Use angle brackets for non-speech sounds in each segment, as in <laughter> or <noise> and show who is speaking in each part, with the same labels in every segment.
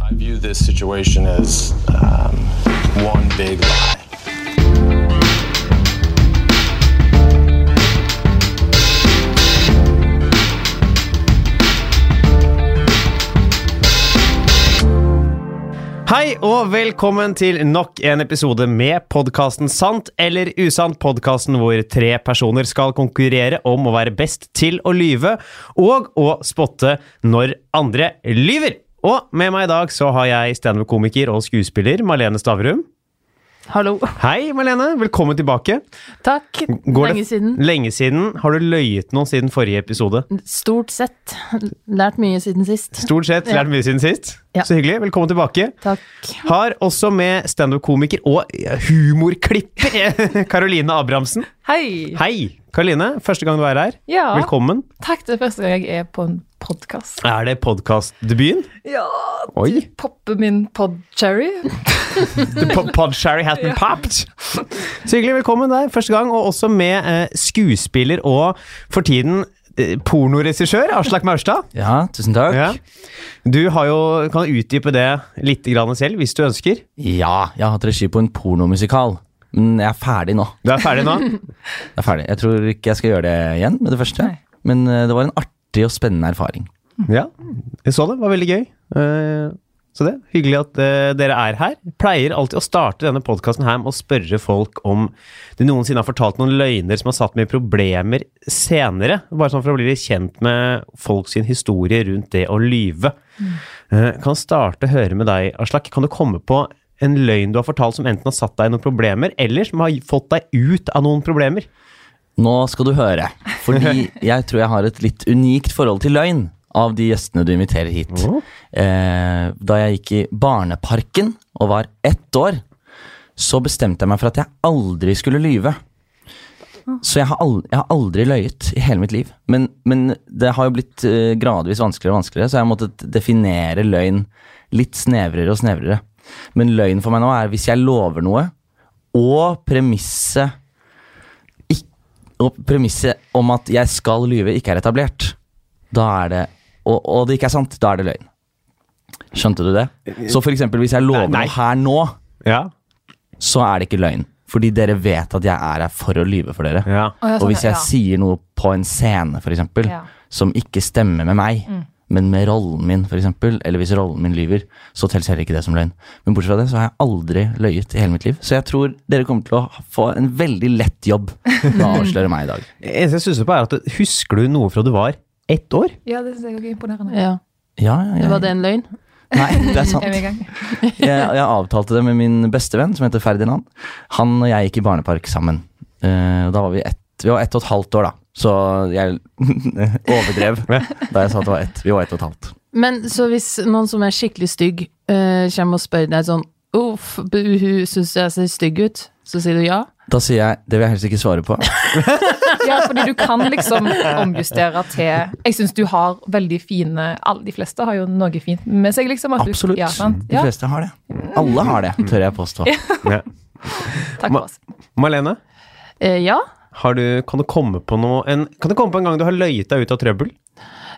Speaker 1: I view this situation as um, one big lie.
Speaker 2: Hei og velkommen til nok en episode med podkasten Sant eller usant. Podkasten hvor tre personer skal konkurrere om å være best til å lyve og å spotte når andre lyver. Og med meg i dag så har jeg standup-komiker og skuespiller Malene Stavrum.
Speaker 3: Hallo.
Speaker 2: Hei, Malene. Velkommen tilbake.
Speaker 3: Takk.
Speaker 2: Går
Speaker 3: Lenge
Speaker 2: det-
Speaker 3: siden.
Speaker 2: Lenge siden. Har du løyet noe siden forrige episode?
Speaker 3: Stort sett. Lært mye siden sist.
Speaker 2: Stort sett. Lært mye siden sist.
Speaker 3: Ja.
Speaker 2: Så hyggelig. Velkommen tilbake.
Speaker 3: Takk.
Speaker 2: Har også med standup-komiker og humorklipper <laughs> Karoline Abrahamsen.
Speaker 4: Hei!
Speaker 2: Hei, Karoline. Første gang du er her.
Speaker 4: Ja,
Speaker 2: Velkommen.
Speaker 4: takk. Det er første gang jeg er på en podkast.
Speaker 2: Er det podkastdebuten?
Speaker 4: Ja,
Speaker 2: Oi.
Speaker 4: poppe min podcherry.
Speaker 2: The po- Podsherry has been popped. Så hyggelig. Velkommen der, første gang. Og også med eh, skuespiller og for tiden eh, pornoregissør Aslak Maurstad.
Speaker 5: Ja, tusen takk.
Speaker 2: Ja.
Speaker 5: Ja,
Speaker 2: Du har jo, kan utdype det litt grann selv, hvis du ønsker.
Speaker 5: jeg har hatt regi på en pornomusikal. Men jeg er ferdig nå.
Speaker 2: Du er ferdig nå?
Speaker 5: Jeg er ferdig. Jeg tror ikke jeg skal gjøre det igjen med det første.
Speaker 4: Nei.
Speaker 5: Men eh, det var en artig og spennende erfaring.
Speaker 2: Ja, jeg så det. det var veldig gøy. Eh, Så det, Hyggelig at eh, dere er her. Pleier alltid å starte denne podkasten her med å spørre folk om de noensinne har fortalt noen løgner som har satt meg i problemer senere. Bare sånn for å bli litt kjent med folk sin historie rundt det å lyve. Eh, Kan starte å høre med deg, Aslak. Kan du komme på en løgn du har fortalt som enten har satt deg i noen problemer, eller som har fått deg ut av noen problemer?
Speaker 5: Nå skal du høre, fordi jeg tror jeg har et litt unikt forhold til løgn av de gjestene du inviterer hit. Eh, da jeg gikk i Barneparken og var ett år, så bestemte jeg meg for at jeg aldri skulle lyve. Så jeg har aldri, jeg har aldri løyet i hele mitt liv. Men, men det har jo blitt eh, gradvis vanskeligere og vanskeligere, så jeg har måttet definere løgn litt snevrere og snevrere. Men løgn for meg nå er hvis jeg lover noe, og premisset og premisset om at jeg skal lyve, ikke er etablert, da er det og, og det ikke er sant, da er det løgn. Skjønte du det? Så for eksempel hvis jeg lover
Speaker 2: Eh, Nei, nei.
Speaker 5: noe her nå,
Speaker 2: Ja.
Speaker 5: så er det ikke løgn. Fordi dere vet at jeg er her for å lyve for dere.
Speaker 2: ja.
Speaker 4: Å, ja,
Speaker 5: Og
Speaker 4: sånn,
Speaker 5: hvis jeg
Speaker 4: ja.
Speaker 5: sier noe på en scene, for eksempel,
Speaker 4: Ja.
Speaker 5: som ikke stemmer med meg, men med rollen min, for eksempel, eller hvis rollen min lyver, så telles heller ikke det som løgn. Men bortsett fra det, så har jeg aldri løyet i hele mitt liv. Så jeg tror dere kommer til å få en veldig lett jobb med å avsløre meg i dag.
Speaker 2: Eneste jeg stusser på, er at husker du noe fra du var ett år?
Speaker 4: ja, det syns jeg også er imponerende.
Speaker 3: Ja.
Speaker 5: Ja, ja, ja.
Speaker 3: Var det en løgn?
Speaker 5: Nei, det er sant.
Speaker 4: Er vi i
Speaker 5: Jeg,
Speaker 4: gang?
Speaker 5: jeg avtalte det med min bestevenn, som heter Ferdinand. Han og jeg gikk i barnepark sammen. Eh, og da var vi ett. Vi var ett og et halvt år, da. Så jeg <laughs> overdrev da jeg sa at det var ett. Vi var ett og et halvt.
Speaker 3: Men så hvis noen som er skikkelig stygg, eh, kommer og spør deg sånn Uff, buhu, syns jeg ser stygg ut? Så sier du ja?
Speaker 5: Da sier jeg det vil jeg helst ikke svare på.
Speaker 4: Ja, fordi du kan liksom omjustere til Jeg syns du har veldig fine alle, De fleste har jo noe fint med seg, liksom. at du-
Speaker 5: Absolutt.
Speaker 4: Ja, sant?
Speaker 5: De
Speaker 4: Ja,
Speaker 5: fleste har det. Alle har det, tør jeg påstå.
Speaker 2: Ja.
Speaker 4: takk for oss.
Speaker 2: Malene?
Speaker 3: Eh, ja.
Speaker 2: Har du, kan, du komme på noe, en, kan du komme på en gang du har løyet deg ut av trøbbel?
Speaker 3: Jeg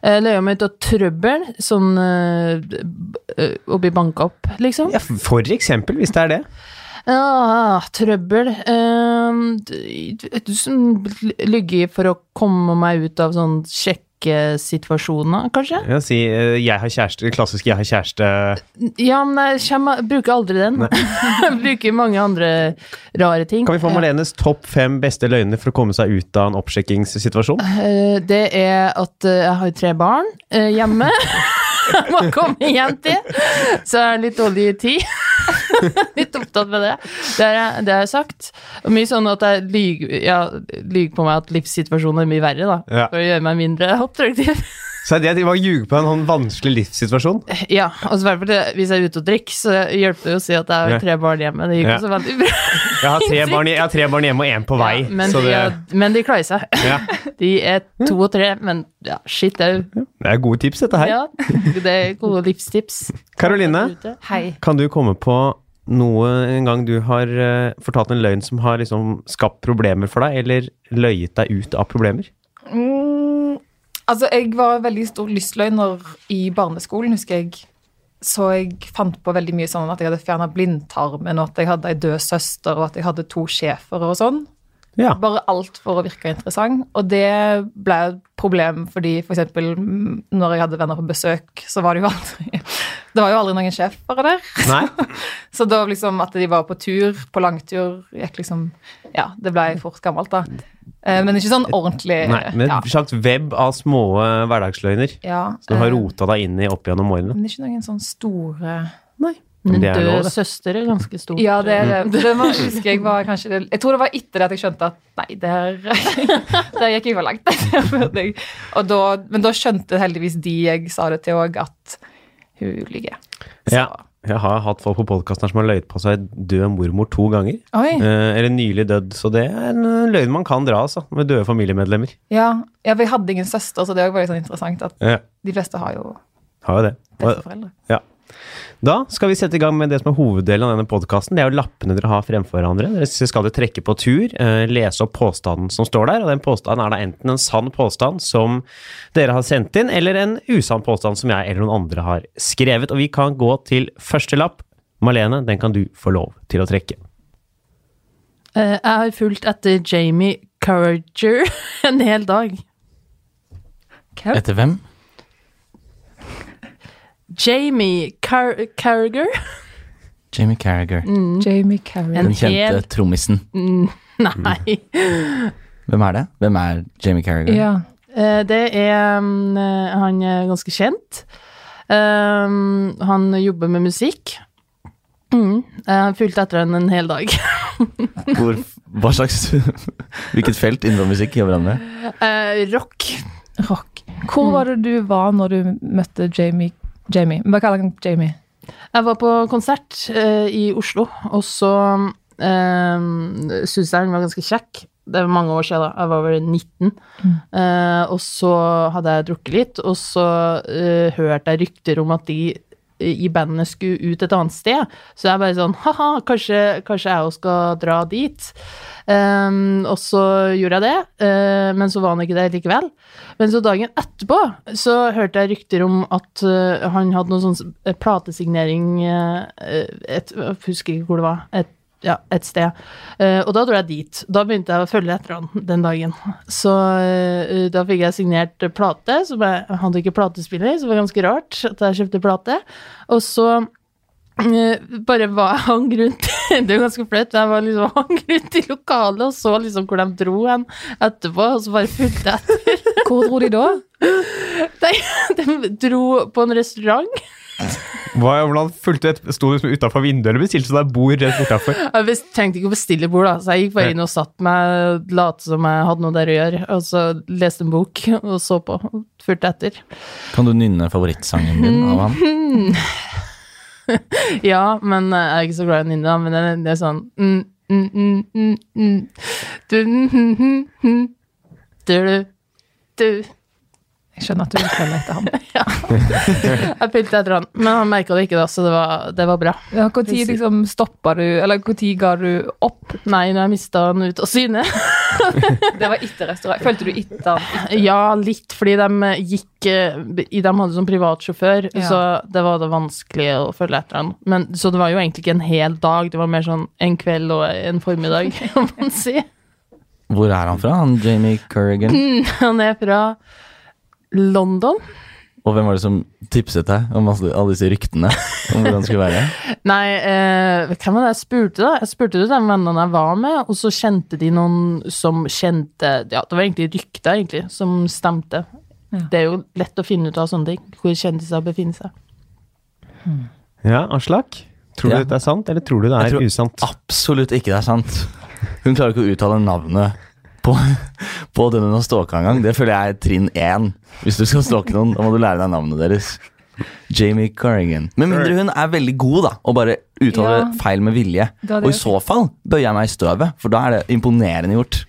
Speaker 3: Eh, løy meg ut av trøbbel, sånn eh, b- eh, Å bli banka opp, liksom.
Speaker 2: Ja, for eksempel, hvis det er det.
Speaker 3: Ah, trøbbel Ehm, d- d- d- sånn Ligge for å komme meg ut av sånn sjekkesituasjoner, kanskje?
Speaker 2: Ja, si eh, 'jeg har kjæreste', klassisk 'jeg har kjæreste'.
Speaker 3: Ja, men jeg kommer, bruker aldri den. <laughs> bruker mange andre rare ting.
Speaker 2: Kan vi få Malenes topp fem beste løgner for å komme seg ut av en oppsjekkingssituasjon?
Speaker 3: Eh, Det er at eh, jeg har tre barn eh, hjemme. <laughs> Må komme hjem til. Så jeg er litt dårlig i tid. <laughs> litt opptatt med det. Det har jeg- det har jeg sagt. Og mye sånn at jeg lyver ja, lyger på meg at livssituasjonen er mye verre, da.
Speaker 2: Ja.
Speaker 3: For å gjøre meg mindre attraktiv.
Speaker 2: Så er det at de bare ljuger på en sånn vanskelig livssituasjon.
Speaker 3: <laughs> Ja, og så i hvert fall det- hvis jeg er ute og drikker, så hjelper det jo å si at jeg
Speaker 2: Ja.
Speaker 3: har tre barn hjemme. Det gikk
Speaker 2: Ja.
Speaker 3: jo så veldig bra.
Speaker 2: Jeg har tre barn, jeg har tre barn hjemme og én <laughs> på vei.
Speaker 3: Ja, men,
Speaker 2: så
Speaker 3: de,
Speaker 2: det,
Speaker 3: ja, men de klarer seg. <laughs>
Speaker 2: ja.
Speaker 3: De er to og tre, men ja, shit au.
Speaker 2: det er gode tips, dette her.
Speaker 3: Ja, det er gode livstips.
Speaker 2: Karoline,
Speaker 4: Hei.
Speaker 2: kan du komme på noe en gang du har eh, fortalt en løgn som har liksom skapt problemer for deg, eller løyet deg ut av problemer?
Speaker 4: Mm, altså, jeg var en veldig stor lystløgner i barneskolen, husker jeg. så jeg fant på veldig mye sånn at jeg hadde fjerna blindtarmen, og at jeg hadde ei død søster, og at jeg hadde to schæfere og sånn.
Speaker 2: Ja.
Speaker 4: Bare alt for å virke interessant. Og det ble et problem fordi for eksempel mm, når jeg hadde venner på besøk, så var det jo aldri <laughs> Det var jo aldri noen sjef bare der.
Speaker 2: Nei?
Speaker 4: Så da liksom at de var på tur, på langtur, gikk liksom Ja, det ble fort gammelt, da. Eh, Men ikke sånn ordentlig
Speaker 2: Nei.
Speaker 4: <laughs>
Speaker 2: Men
Speaker 4: ja.
Speaker 2: et slags webb av små eh, hverdagsløgner
Speaker 4: ja.
Speaker 2: som du har
Speaker 4: eh,
Speaker 2: rota deg inn i opp gjennom årene.
Speaker 4: Men det er ikke noen sånn store
Speaker 2: Nei.
Speaker 3: Men
Speaker 4: Mm.
Speaker 2: Men det er
Speaker 3: død
Speaker 2: lov, det.
Speaker 3: søster er ganske stor.
Speaker 4: Ja, det er det. Det var, husker jeg var kanskje det. Jeg tror det var etter det at jeg skjønte at nei, <laughs> der, der gikk jeg for langt. <laughs> Der burde jeg- Og da, men da skjønte heldigvis de jeg sa det til òg, at hun lyver.
Speaker 2: Ja. Jeg har hatt folk på podkasten her som har løyet på seg død mormor to ganger.
Speaker 4: Oi.
Speaker 2: Eh, eller nylig dødd, så det er en eh, løgn man kan dra, altså. Med døde familiemedlemmer.
Speaker 4: Ja, ja, for jeg hadde ingen søster, så det er òg veldig sånn interessant at
Speaker 2: Ja,
Speaker 4: de fleste har jo
Speaker 2: har jo det. Og-
Speaker 4: besteforeldre.
Speaker 2: Ja. Da skal vi sette i gang med det som er hoveddelen av denne podkasten. Det er jo lappene dere har fremfor hverandre. Dere skal jo trekke på tur, eh, lese opp påstanden som står der. Og den påstanden er da enten en sann påstand som dere har sendt inn, eller en usann påstand som jeg eller noen andre har skrevet. Og vi kan gå til første lapp. Malene, den kan du få lov til å trekke.
Speaker 3: Eh, Jeg har fulgt etter Jamie Courager <laughs> en hel dag.
Speaker 5: Etter hvem?
Speaker 3: Jamie Car Carragher? <laughs>
Speaker 5: Jamie Carragher.
Speaker 4: Mm. Jamie Carrier.
Speaker 5: Den kjente
Speaker 3: hel-
Speaker 5: trommisen.
Speaker 3: Nei.
Speaker 5: Hvem er det? Hvem er Jamie Carragher?
Speaker 4: Ja.
Speaker 3: Eh, Det er mm, eh, Han er ganske kjent. Um, han jobber med musikk. Mm. Jeg har fulgt etter han en hel dag. <laughs>
Speaker 5: Hvor, hva slags <laughs> Hvilket felt innenfor musikk jobber han med?
Speaker 3: Eh, rock.
Speaker 4: Rock. Hvor var det du var når du møtte Jamie? Jamie. Bare kall han Jamie.
Speaker 3: Jeg var på konsert eh, i Oslo, og så eh, syntes jeg han var ganske kjekk. Det var mange år siden, da. Jeg var vel 19. Eh, og så hadde jeg drukket litt, og så eh, hørte jeg rykter om at de i bandet skulle ut et annet sted. Så jeg bare sånn ha-ha, kanskje, kanskje jeg òg skal dra dit. Ehm, og så gjorde jeg det, eh, men så var han ikke der likevel. Men så dagen etterpå så hørte jeg rykter om at eh, han hadde noe sånn s- eh, platesignering eh, et, Jeg husker ikke hvor det var. Et, ja, et sted. Eh, og da dro jeg dit. Da begynte jeg å følge etter han den dagen. Så eh, da fikk jeg signert plate. Som jeg, jeg hadde ikke platespiller, så det var ganske rart at jeg kjøpte plate. Og så eh, bare var <laughs> hang rundt Det er jo ganske flaut, men jeg var liksom <laughs> hang rundt i lokalet og så liksom hvor de dro hen etterpå, og så bare fulgte jeg etter.
Speaker 4: Hvor dro de
Speaker 3: <laughs>
Speaker 4: da?
Speaker 3: De dro på en restaurant.
Speaker 2: Hva, hvordan fulgte du et Sto du utafor vinduet eller bestilte deg bord rett bortafor?
Speaker 3: Jeg bes- trengte ikke å bestille bord, da, så jeg gikk bare inn og satt meg, lot som jeg hadde noe der å gjøre, og så leste en bok og så på. og Fulgte etter.
Speaker 5: Kan du nynne favorittsangen din
Speaker 4: Mm.
Speaker 5: av han?
Speaker 3: Ja, men eh, jeg er ikke så glad i Ninja, men det, det er sånn mm, mm, mm, mm, mm. Du, mm, mm, mm, mm. Du, du, du.
Speaker 4: Jeg skjønner at du vil følge etter ham.
Speaker 3: Jeg pilte etter han, men han merka det ikke, da, så det var, det var bra.
Speaker 4: <laughs> Ja, hvor tid liksom stoppa du, eller hvor tid ga du opp?
Speaker 3: Nei, når jeg mista han ut av syne.
Speaker 4: Det var etter restaurant. Følte du etter?
Speaker 3: Eh, Ja, litt, fordi de gikk eh, i- De hadde som privatsjåfør,
Speaker 4: Ja.
Speaker 3: så det var da vanskelig å følge etter han. Men, så det var jo egentlig ikke en hel dag, det var mer sånn en kveld og en formiddag, <laughs> kan man si.
Speaker 5: Hvor er han fra, han Jamie Carragher?
Speaker 4: Mm.
Speaker 3: Han er fra London.
Speaker 5: Og hvem var det som tipset deg om alle alle disse ryktene <laughs> om hvordan det skulle være?
Speaker 3: Nei, eh, hvem var det jeg spurte da? Jeg spurte de vennene jeg var med, og så kjente de noen som kjente Ja, det var egentlig rykter, egentlig, som stemte. Det er jo lett å finne ut av sånne ting, hvor kjendiser befinner seg.
Speaker 2: Ja, Aslak? Tror du
Speaker 5: Ja.
Speaker 2: dette er sant, eller tror du det er
Speaker 5: Jeg tror-
Speaker 2: usant?
Speaker 5: Absolutt ikke det er sant. Hun klarer ikke å uttale navnet på, på den hun har stalka engang. Det føler jeg er trinn én. Hvis du skal stalke noen, da må du lære deg navnet deres. Jamie Corrigan. Med mindre hun er veldig god da og bare uttaler
Speaker 4: Ja.
Speaker 5: feil med vilje.
Speaker 4: Da er det
Speaker 5: Og i
Speaker 4: ok.
Speaker 5: så fall bøyer jeg meg i støvet, for da er det imponerende gjort.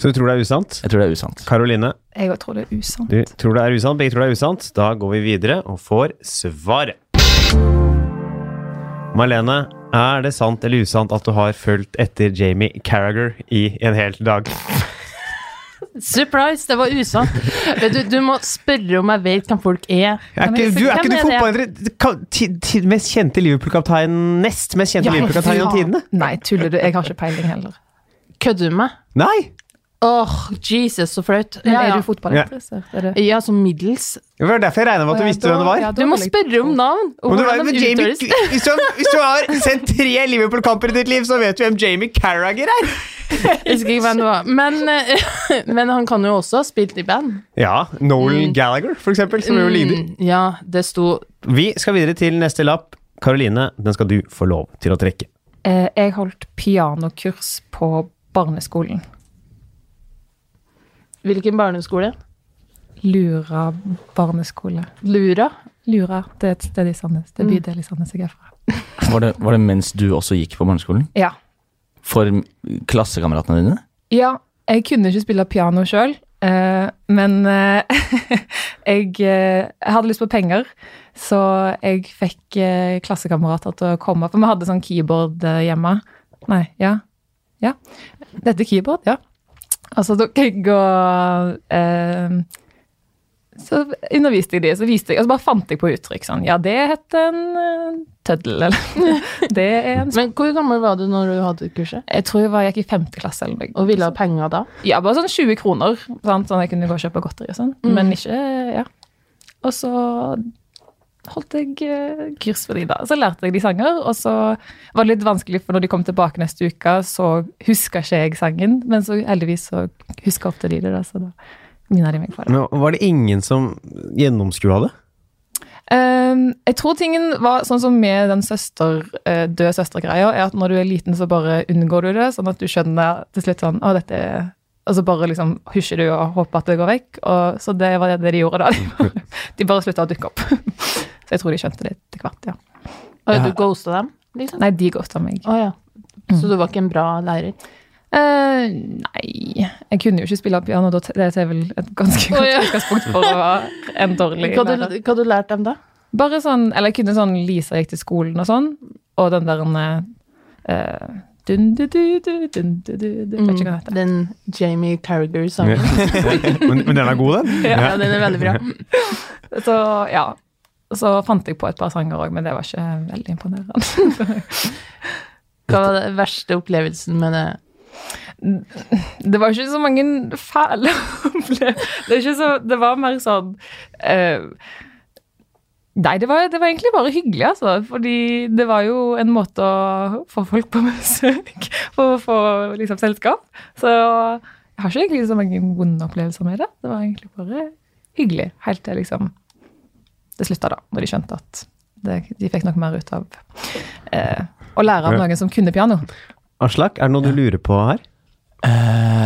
Speaker 2: Så du tror det er usant?
Speaker 5: Jeg tror det er usant.
Speaker 2: Karoline?
Speaker 4: Jeg også tror det er usant.
Speaker 2: Du tror det er usant, begge tror det er usant. Da går vi videre og får svaret. Marlene, er det sant eller usant at du har fulgt etter Jamie Carragher i en hel dag?
Speaker 3: Surprise, det var usant. Vet du, du må spørre om jeg vet hvem folk er.
Speaker 2: Er ikke, du er ikke du
Speaker 3: Hvem er
Speaker 2: fotballinteressert? Ka- ti- ti- Mest kjente Liverpool-kapteinen Nest mest kjente Liverpool-kapteinen gjennom tidene?
Speaker 4: Nei, tuller du? Jeg har ikke peiling heller.
Speaker 3: Kødder du med meg?
Speaker 2: Nei!
Speaker 3: Åh, Jesus, så flaut.
Speaker 4: Men
Speaker 3: Ja,
Speaker 4: er
Speaker 3: ja.
Speaker 4: du fotballinteressert? Er det-
Speaker 3: ja, som middels.
Speaker 2: Det var derfor jeg regna med at du
Speaker 4: Å ja,
Speaker 2: visste hvem det
Speaker 4: da-
Speaker 2: var.
Speaker 4: ja,
Speaker 3: Du
Speaker 4: da
Speaker 3: må
Speaker 4: vil jeg-
Speaker 3: spørre om navn. og
Speaker 2: Om du,
Speaker 3: hvordan
Speaker 2: vet-
Speaker 3: de
Speaker 2: men Jamie,
Speaker 3: uttales.
Speaker 2: <laughs> hvis, du, hvis du har sett tre Liverpool-kamper i ditt liv, så vet du hvem Jamie Carragher er!
Speaker 3: Jeg husker ikke hvem det var. Men, eh, <laughs> men han kan jo også ha spilt i band.
Speaker 2: Ja,
Speaker 4: Mm.
Speaker 2: Nolan Gallagher, for eksempel, som jo ligner.
Speaker 3: Mm, ja, det sto
Speaker 2: Vi skal videre til neste lapp. Karoline, den skal du få lov til å trekke.
Speaker 4: Eh, Jeg holdt pianokurs på barneskolen.
Speaker 3: Hvilken barneskole?
Speaker 4: Lura barneskole. Mm.
Speaker 3: Lura?
Speaker 4: Lura, det er et sted i Sandnes. Det er bydel i Sandnes jeg er fra.
Speaker 5: Var det, var det mens du også gikk på barneskolen?
Speaker 4: Ja.
Speaker 5: For klassekameratene dine?
Speaker 4: Ja, jeg kunne ikke spille piano sjøl, men eh, <laughs> jeg, eh, jeg hadde lyst på penger, så jeg fikk eh, klassekamerater til å komme. For vi hadde sånn keyboard eh, hjemme. Nei, ja. Ja. Dette er keyboard, ja. Altså, da kan jeg gå eh, Så underviste jeg de, så viste jeg, og så bare fant jeg på uttrykk sånn Ja, det heter en eh, tøddel, eller <laughs> Det er en
Speaker 3: Men hvor gammel var du når du hadde kurset?
Speaker 4: Jeg tror jeg var, jeg gikk i femte klasse eller noe.
Speaker 3: Og ville ha penger da?
Speaker 4: Ja, bare sånn 20 kroner, sant? sånn jeg kunne gå og kjøpe godteri og sånn. Men ikke Ja. Og så holdt jeg eh, kurs for de da. Så lærte jeg de sanger, og så var det litt vanskelig, for når de kom tilbake neste uke, så huska ikke jeg sangen, men så heldigvis så huska opp til de det, da, så da minna de meg på det.
Speaker 2: Men var det ingen som gjennomskua det?
Speaker 4: Ehm, jeg tror tingen var sånn som med den søster, eh, død søster-greia, er at når du er liten, så bare unngår du det, sånn at du skjønner til slutt sånn Å, dette er Og så bare liksom hysjer du og håper at det går vekk. Og, så det var det- det de gjorde da. De
Speaker 3: <laughs>
Speaker 4: bare, de bare slutta å dukke opp. <laughs> Så jeg tror de skjønte det etter hvert, ja.
Speaker 3: Og du ghosta dem? liksom?
Speaker 4: Nei, de ghosta meg.
Speaker 3: Å ja. Så du var ikke en bra lærer?
Speaker 4: Eh, nei, jeg kunne jo ikke spille piano, da t- det er vel et ganske godt
Speaker 3: Å, ja.
Speaker 4: utgangspunkt for å være en dårlig
Speaker 3: Hva
Speaker 4: lærer.
Speaker 3: hadde du lært dem da?
Speaker 4: Bare sånn, eller jeg kunne sånn Lisa gikk til skolen og sånn, og den der eh, dun, du, du, du, dun, du, du, du, Vet ikke hva den heter.
Speaker 3: Den Jamie Carriger-sangen.
Speaker 2: Men, men den er god, den.
Speaker 3: <laughs> Ja, den er veldig bra.
Speaker 4: Så ja. Så fant jeg på et par sanger òg, men det var ikke veldig imponerende.
Speaker 3: Hva var den verste opplevelsen med det?
Speaker 4: Det var ikke så mange fæle opplevelser. Det, er ikke så- det var mer sånn eh, Nei, det var, det var egentlig bare hyggelig, altså. Fordi det var jo en måte å få folk på besøk, for å få liksom, selskap. Så jeg har ikke egentlig så mange vonde opplevelser med det. Det var egentlig bare hyggelig, helt til liksom, det slutta, da. Når de skjønte at det, de fikk nok mer ut av eh, å lære av noen som kunne piano.
Speaker 2: Aslak, er det noe du lurer på her?
Speaker 5: Eh,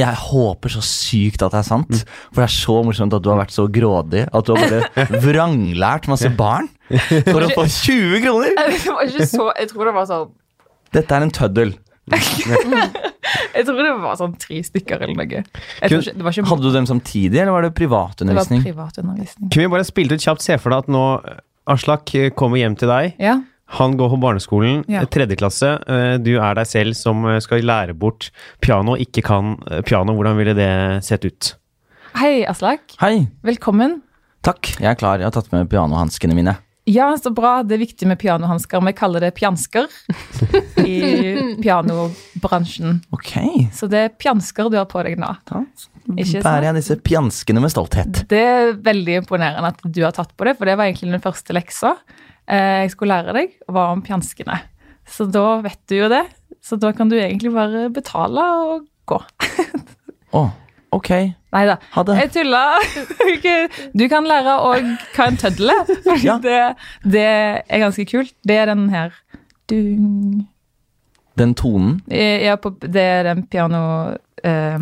Speaker 5: jeg håper så sykt at det er sant. For det er så morsomt at du har vært så grådig at du har
Speaker 4: <laughs>
Speaker 5: bare vranglært masse barn for å få 20 kroner!
Speaker 4: Det var ikke så, jeg tror det var sånn
Speaker 5: Dette er en tøddel.
Speaker 4: Jeg tror det var sånn tre stykker eller noe. Jeg
Speaker 2: Kun-
Speaker 4: tror ikke, det var ikke
Speaker 5: Hadde du dem samtidig, eller var det
Speaker 4: det var
Speaker 5: privatundervisning?
Speaker 4: privatundervisning.
Speaker 2: Kunne vi bare spilt ut kjapt? Se for deg at nå eh, Aslak eh, kommer hjem til deg.
Speaker 4: Ja.
Speaker 2: Han går på barneskolen,
Speaker 4: Ja.
Speaker 2: eh, tredje klasse. Eh, Du er deg selv som eh, skal lære bort piano, ikke kan eh, piano. Hvordan ville det sett ut?
Speaker 4: Hei, Aslak.
Speaker 5: Hei,
Speaker 4: Velkommen.
Speaker 5: takk. Jeg er klar. Jeg har tatt med pianohanskene mine.
Speaker 4: Ja, så bra. Det er viktig med pianohansker. Vi kaller det
Speaker 5: <laughs>
Speaker 4: pjansker i pianobransjen.
Speaker 5: Ok,
Speaker 4: Så det er pjansker du har på deg nå.
Speaker 5: da
Speaker 4: Ikke
Speaker 5: bærer
Speaker 4: sant?
Speaker 5: jeg disse pjanskene med stolthet.
Speaker 4: Det er veldig imponerende at du har tatt på det, for det var egentlig den første leksa eh, jeg skulle lære deg, var om pjanskene. Så da vet du jo det. Så da kan du egentlig bare betale og gå.
Speaker 5: Å, ok.
Speaker 4: Nei da.
Speaker 5: Ha det.
Speaker 4: Jeg tulla. Ikke- Du kan lære òg hva en tøddel er. fordi
Speaker 5: Ja.
Speaker 4: Det, det er ganske kult. Det er den her Dung.
Speaker 5: Den tonen.
Speaker 4: Eh, Ja, på, det er den piano eh,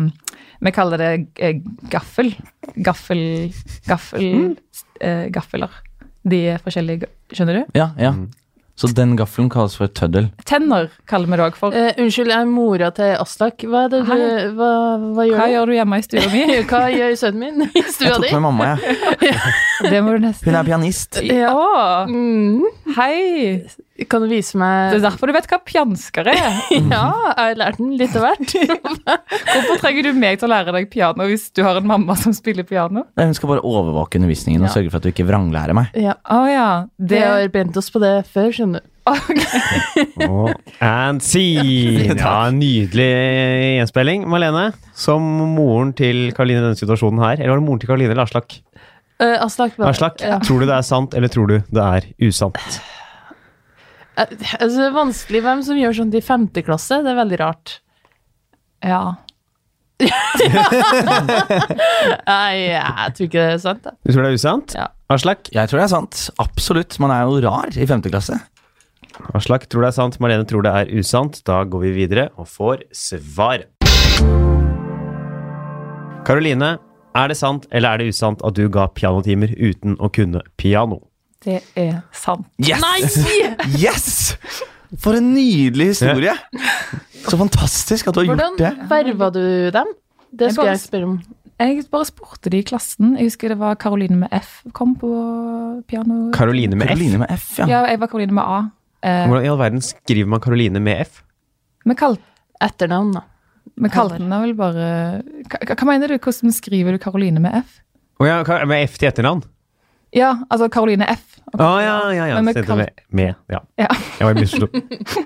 Speaker 4: Vi kaller det eh, gaffel. Gaffel Gaffel eh, Gaffeler. De er forskjellige Skjønner du?
Speaker 5: Ja, ja. Så den gaffelen kalles for tøddel.
Speaker 4: Tenner kaller vi det òg for.
Speaker 3: Eh, unnskyld, jeg er mora til Aslak. Hva, er det du,
Speaker 4: Hei.
Speaker 3: hva, hva gjør
Speaker 4: Hva
Speaker 3: du?
Speaker 4: gjør du hjemme i stua mi?
Speaker 3: <laughs> Hva gjør sønnen min i
Speaker 4: <laughs>
Speaker 5: Jeg
Speaker 3: stua
Speaker 5: tok
Speaker 3: di?
Speaker 5: med mamma, jeg.
Speaker 4: Det må du nesten
Speaker 5: Hun er pianist.
Speaker 4: Ja.
Speaker 3: Mm.
Speaker 4: Hei!
Speaker 3: Kan du vise meg
Speaker 4: Det er derfor du vet hva pjansker er.
Speaker 3: <laughs> Ja, jeg har lært den litt av
Speaker 4: <laughs>
Speaker 3: hvert.
Speaker 4: Hvorfor trenger du meg til å lære deg piano hvis du har en mamma som spiller piano?
Speaker 5: Nei, Hun skal bare overvåke undervisningen og
Speaker 4: Ja.
Speaker 5: sørge for at du ikke vranglærer meg.
Speaker 3: Ja,
Speaker 4: Å ja.
Speaker 3: Vi
Speaker 4: Det
Speaker 3: har brent oss på det før, skjønner du.
Speaker 2: Og and scene! <laughs> Ja, nydelig gjenspilling. Malene, som moren til Karoline i denne situasjonen her, eller var det moren til Karoline eller Aslak?
Speaker 3: Eh, Aslak. hva-
Speaker 2: Aslak,
Speaker 3: Ja.
Speaker 2: tror du det er sant, eller tror du det er usant?
Speaker 3: Eh, Altså, det er vanskelig hvem som gjør sånt i femte klasse. Det er veldig rart.
Speaker 4: Ja.
Speaker 3: Nei, jeg tror ikke det er sant. Da.
Speaker 2: Du tror det er usant?
Speaker 3: Ja.
Speaker 2: Aslak,
Speaker 5: Jeg tror det er sant. Absolutt. Man er jo rar i femte klasse.
Speaker 2: Aslak tror det er sant, Malene tror det er usant. Da går vi videre og får svar. Karoline, er det sant eller er det usant at du ga pianotimer uten å kunne piano?
Speaker 4: Det er sant.
Speaker 5: Yes!
Speaker 3: Nei!
Speaker 5: <laughs> Yes! For en nydelig historie! Så fantastisk at du har gjort det.
Speaker 3: Hvordan verva du dem? Det
Speaker 4: Jeg
Speaker 3: skal
Speaker 4: bare-
Speaker 3: jeg spørre om.
Speaker 4: Jeg bare spurte de i klassen. Jeg husker det var Karoline med F kom på piano.
Speaker 2: Karoline med F?
Speaker 5: Karoline med F, ja.
Speaker 4: Ja, jeg var Karoline med A. Eh,
Speaker 2: Hvordan i all verden skriver man Karoline med F?
Speaker 4: vi kal-
Speaker 3: Etternavn, da.
Speaker 4: vi kalte den da vel bare Hva, hva- hva mener du? Hvordan skriver du Karoline med F?
Speaker 2: Å ja, Kar- med F til etternavn?
Speaker 4: Ja, altså Karoline F.
Speaker 2: Å ja, ja, ja.
Speaker 4: Men med
Speaker 2: Stedet
Speaker 4: kal-
Speaker 2: med, med, ja.
Speaker 4: Ja.
Speaker 2: Jeg var misforstått.